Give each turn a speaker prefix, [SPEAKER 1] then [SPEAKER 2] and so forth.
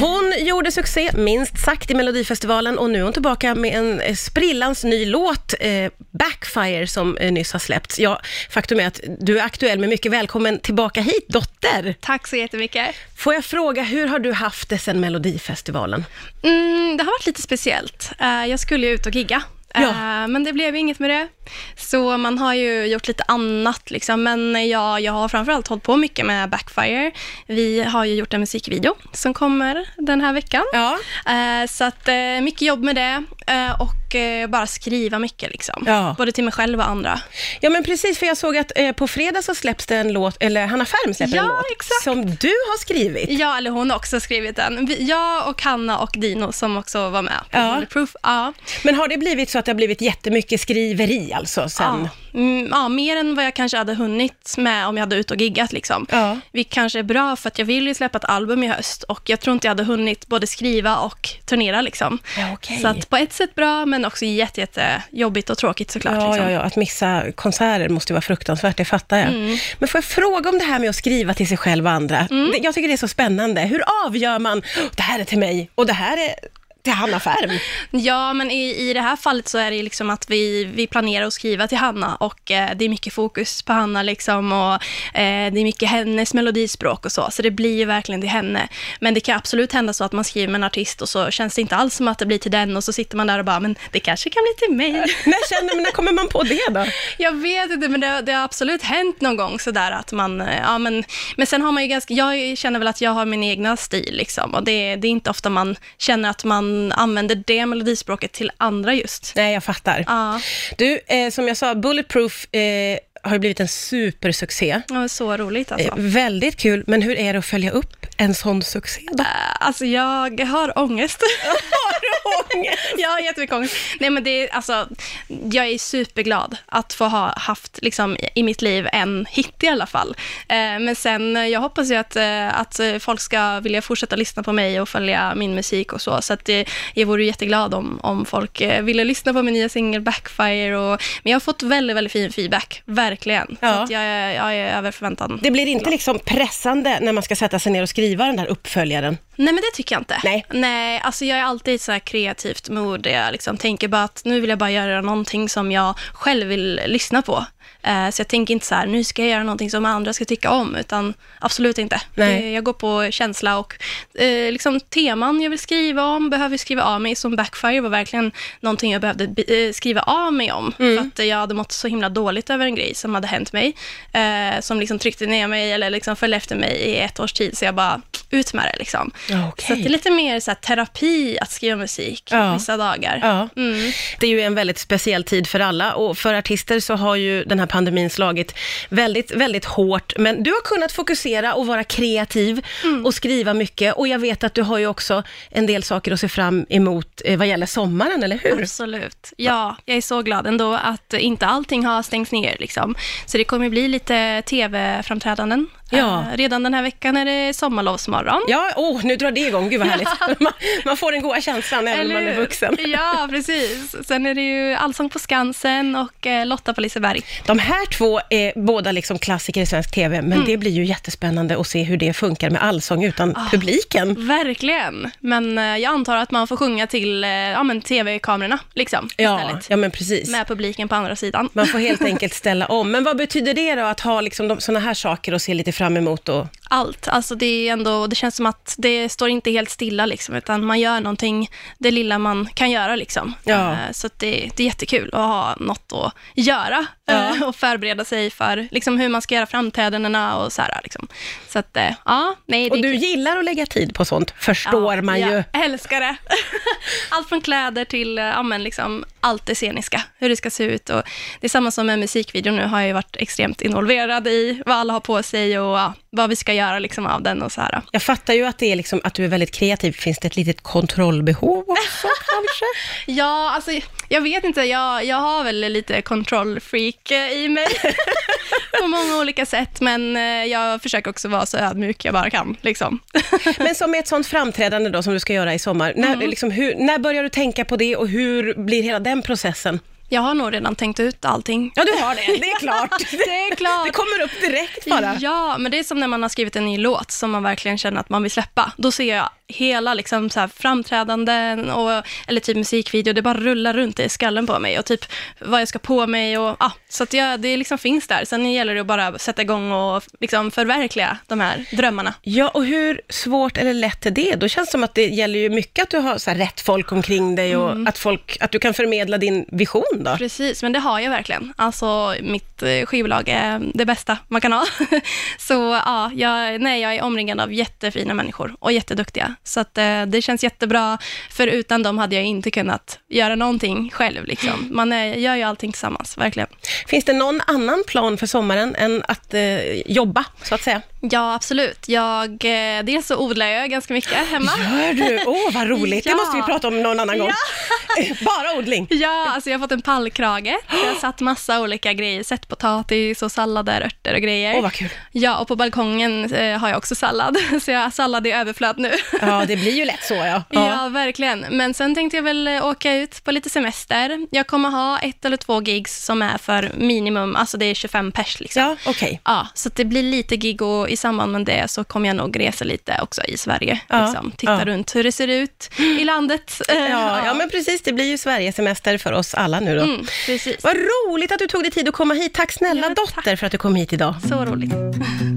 [SPEAKER 1] Hon gjorde succé, minst sagt, i Melodifestivalen och nu är hon tillbaka med en eh, sprillans ny låt, eh, Backfire, som eh, nyss har släppts. Ja, faktum är att du är aktuell med mycket. Välkommen tillbaka hit, dotter!
[SPEAKER 2] Tack så jättemycket.
[SPEAKER 1] Får jag fråga, hur har du haft det sen Melodifestivalen?
[SPEAKER 2] Mm, det har varit lite speciellt. Eh, jag skulle ju ut och gigga, eh,
[SPEAKER 1] Ja.
[SPEAKER 2] men det blev inget med det. Så man har ju gjort lite annat, liksom. men jag, jag har framförallt hållit på mycket med Backfire. Vi har ju gjort en musikvideo som kommer den här veckan.
[SPEAKER 1] Ja.
[SPEAKER 2] Eh, så att, eh, mycket jobb med det eh, och eh, bara skriva mycket, liksom.
[SPEAKER 1] Ja.
[SPEAKER 2] både till mig själv och andra.
[SPEAKER 1] Ja, men precis, för jag såg att eh, på fredag så släpps det en låt, eller Hanna Färm släpper
[SPEAKER 2] Ja,
[SPEAKER 1] en låt,
[SPEAKER 2] exakt.
[SPEAKER 1] som du har skrivit.
[SPEAKER 2] Ja, eller hon har också skrivit den. Vi- Jag och Hanna och Dino som också var med.
[SPEAKER 1] Ja.
[SPEAKER 2] Bulletproof, ja.
[SPEAKER 1] Men har det blivit så att det har blivit jättemycket skriveri alltså sen?
[SPEAKER 2] Ja. Mm, ja, mer än vad jag kanske hade hunnit med om jag hade ut och giggat. Liksom.
[SPEAKER 1] Ja.
[SPEAKER 2] Vilket kanske är bra, för att jag vill ju släppa ett album i höst och jag tror inte jag hade hunnit både skriva och turnera. Liksom.
[SPEAKER 1] Ja, okej.
[SPEAKER 2] Så att på ett sätt bra, men också jätte, jätte jobbigt och tråkigt såklart.
[SPEAKER 1] Ja,
[SPEAKER 2] liksom.
[SPEAKER 1] ja, ja, att missa konserter måste ju vara fruktansvärt, det fattar jag. Men får jag fråga om det här med att skriva till sig själv och andra? Det, jag tycker det är så spännande. Hur avgör man, "Åh, det här är till mig och det här är till Hanna Färm?
[SPEAKER 2] Ja, men i, i det här fallet så är det ju liksom att vi, vi planerar att skriva till Hanna och eh, det är mycket fokus på Hanna liksom och eh, det är mycket hennes melodispråk och så, så det blir ju verkligen till henne. Men det kan absolut hända så att man skriver med en artist och så känns det inte alls som att det blir till den och så sitter man där och bara, men det kanske kan bli till mig.
[SPEAKER 1] när, känner, men när kommer man på det då?
[SPEAKER 2] Jag vet inte, men det, det har absolut hänt någon gång sådär att man, eh, ja men, men sen har man ju ganska, jag känner väl att jag har min egna stil liksom och det, det är inte ofta man känner att man använder det melodispråket till andra just.
[SPEAKER 1] Nej, jag fattar.
[SPEAKER 2] Ja,
[SPEAKER 1] Du, eh, som jag sa, Bulletproof eh, har ju blivit en supersuccé.
[SPEAKER 2] det var så roligt alltså.
[SPEAKER 1] Eh, väldigt kul, men hur är det att följa upp en sån succé då?
[SPEAKER 2] Eh, Alltså jag har ångest.
[SPEAKER 1] Har du ångest?
[SPEAKER 2] jag har jättemycket ångest. Nej men det är alltså, jag är superglad att få ha haft liksom i- i mitt liv en hit i alla fall. Eh, Men sen, eh, jag hoppas ju att, eh, att eh, folk ska vilja fortsätta lyssna på mig och följa min musik och så. Så att eh, jag vore jätteglad om, om folk eh, ville lyssna på min nya singel Backfire. Och, men jag har fått väldigt, väldigt fin feedback, verkligen.
[SPEAKER 1] Ja.
[SPEAKER 2] Så att jag, är- jag är över förväntan.
[SPEAKER 1] Det blir inte liksom pressande när man ska sätta sig ner och skriva den där uppföljaren?
[SPEAKER 2] Nej, men det tycker jag inte.
[SPEAKER 1] Nej.
[SPEAKER 2] Nej, alltså jag är alltid i så här kreativt mod. där Jag liksom tänker bara att nu vill jag bara göra någonting som jag själv vill lyssna på. Eh, så jag tänker inte så här, nu ska jag göra någonting som andra ska tycka om, utan absolut inte.
[SPEAKER 1] Nej.
[SPEAKER 2] Det- Jag går på känsla och eh, liksom teman jag vill skriva om, behöver skriva av mig. Som Backfire var verkligen någonting jag behövde bi- eh, skriva av mig om,
[SPEAKER 1] Mm.
[SPEAKER 2] för att jag hade mått så himla dåligt över en grej som hade hänt mig, eh, som liksom tryckte ner mig eller liksom följde efter mig i ett års tid, så jag bara, ut med det liksom.
[SPEAKER 1] Ja, okej.
[SPEAKER 2] Så att det är lite mer så här, terapi att skriva musik
[SPEAKER 1] Ja.
[SPEAKER 2] vissa dagar.
[SPEAKER 1] Ja.
[SPEAKER 2] Mm.
[SPEAKER 1] Det är ju en väldigt speciell tid för alla och för artister så har ju den här pandemin slagit väldigt, väldigt hårt. Men du har kunnat fokusera och vara kreativ
[SPEAKER 2] Mm.
[SPEAKER 1] och skriva mycket och jag vet att du har ju också en del saker att se fram emot eh, vad gäller sommaren, eller hur?
[SPEAKER 2] Absolut. Ja, jag är så glad ändå att inte allting har stängts ner. Liksom. Så det kommer bli lite tv-framträdanden.
[SPEAKER 1] Ja.
[SPEAKER 2] Eh, redan den här veckan är det sommarlovsmorgon.
[SPEAKER 1] Ja, åh, nu drar det igång, gud vad härligt. Man, man får den goda känslan även om man är
[SPEAKER 2] hur?
[SPEAKER 1] vuxen.
[SPEAKER 2] Ja, precis. Sen är det ju Allsång på Skansen och eh, Lotta på Liseberg.
[SPEAKER 1] De här två är båda liksom klassiker i svensk TV, men
[SPEAKER 2] Mm.
[SPEAKER 1] det blir ju jättespännande att se hur det funkar med allsång utan
[SPEAKER 2] Ah. Mm,
[SPEAKER 1] publiken.
[SPEAKER 2] Verkligen. Men eh, jag antar att man får sjunga till eh, ja, men tv-kamerorna liksom,
[SPEAKER 1] Ja,
[SPEAKER 2] istället.
[SPEAKER 1] ja, men precis.
[SPEAKER 2] Med publiken på andra sidan.
[SPEAKER 1] Man får helt enkelt ställa om. Men vad betyder det då att ha liksom de, såna här saker att se lite fram emot? Och,
[SPEAKER 2] allt. Alltså det, är ändå, det känns som att det står inte helt stilla, liksom, utan man gör någonting, det lilla man kan göra. Liksom.
[SPEAKER 1] Ja.
[SPEAKER 2] Eh, Så att det, det är jättekul att ha något att göra
[SPEAKER 1] Ja.
[SPEAKER 2] eh, och förbereda sig för liksom, hur man ska göra framträdandena och så här. Liksom. Så att, eh, ja, nej, det
[SPEAKER 1] och
[SPEAKER 2] är
[SPEAKER 1] du
[SPEAKER 2] kul.
[SPEAKER 1] gillar att lägga tid på sånt, förstår
[SPEAKER 2] ja,
[SPEAKER 1] man ju.
[SPEAKER 2] Jag älskar det. Allt från kläder till eh, ja, men liksom, allt det sceniska, hur det ska se ut. Och det är samma som med musikvideon nu, har jag ju varit extremt involverad i vad alla har på sig och ja, vad vi ska göra liksom, av den och så här.
[SPEAKER 1] Jag fattar ju att, det är liksom, att du är väldigt kreativ. Finns det ett litet kontrollbehov också kanske?
[SPEAKER 2] Ja, alltså jag vet inte. Jag, jag har väl lite kontrollfreak eh, i mig på många olika sätt, men eh, jag försöker också vara så ödmjuk jag bara kan. Liksom.
[SPEAKER 1] Men som ett sånt framträdande
[SPEAKER 2] Mm.
[SPEAKER 1] då som du ska göra i sommar, när, liksom, hur, när börjar du tänka på det och hur blir hela den processen?
[SPEAKER 2] Jag har nog redan tänkt ut allting.
[SPEAKER 1] Ja, du har det. Det är klart.
[SPEAKER 2] Det är klart.
[SPEAKER 1] Det kommer upp direkt bara.
[SPEAKER 2] Ja, men det är som när man har skrivit en ny låt som man verkligen känner att man vill släppa. Då ser jag hela liksom så här framträdanden och, eller typ musikvideo, det bara rullar runt i skallen på mig och typ vad jag ska på mig och ah, så att jag, det liksom finns där. Sen gäller det att bara sätta igång och liksom förverkliga de här drömmarna.
[SPEAKER 1] Ja, och hur svårt eller lätt är det? Då känns det som att det gäller ju mycket att du har så här rätt folk omkring dig och
[SPEAKER 2] Mm.
[SPEAKER 1] att, folk, att du kan förmedla din vision då.
[SPEAKER 2] Precis, men det har jag verkligen. Alltså mitt eh, skivbolag är det bästa man kan ha. så ja, jag, nej, jag är omringad av jättefina människor och jätteduktiga. Så att, eh, det känns jättebra, för utan dem hade jag inte kunnat göra någonting själv. Liksom. Man är, gör ju allting tillsammans, verkligen.
[SPEAKER 1] Finns det någon annan plan för sommaren än att eh, jobba, så att säga?
[SPEAKER 2] Ja, absolut. Jag, eh, dels så odlar jag ganska mycket hemma.
[SPEAKER 1] Gör du? Åh, vad roligt. Det
[SPEAKER 2] Ja.
[SPEAKER 1] måste vi prata om någon annan gång. Bara odling.
[SPEAKER 2] Ja, alltså jag har fått en pallkrage. Jag har satt massa olika grejer, sett potatis och sallader, örter och grejer.
[SPEAKER 1] Åh, vad kul.
[SPEAKER 2] Ja, och på balkongen eh, har jag också sallad, så jag har sallad i överflöd nu.
[SPEAKER 1] Ja, det blir ju lätt så ja.
[SPEAKER 2] Ja. verkligen. Men sen tänkte jag väl eh, åka ut på lite semester. Jag kommer ha ett eller två gigs som är för minimum, alltså det är 25 pers liksom.
[SPEAKER 1] Ja, okej.
[SPEAKER 2] Ja, så att det blir lite gig och i samband med det så kommer jag nog resa lite också i Sverige.
[SPEAKER 1] Ja.
[SPEAKER 2] Liksom. Titta
[SPEAKER 1] Ja.
[SPEAKER 2] runt hur det ser ut i landet. Eh,
[SPEAKER 1] Ja, ja, men precis. Det blir ju Sverigesemester för oss alla nu då.
[SPEAKER 2] mm, precis.
[SPEAKER 1] Vad roligt att du tog dig tid att komma hit. Tack snälla
[SPEAKER 2] Ja,
[SPEAKER 1] dotter för att du kom hit idag.
[SPEAKER 2] Så roligt.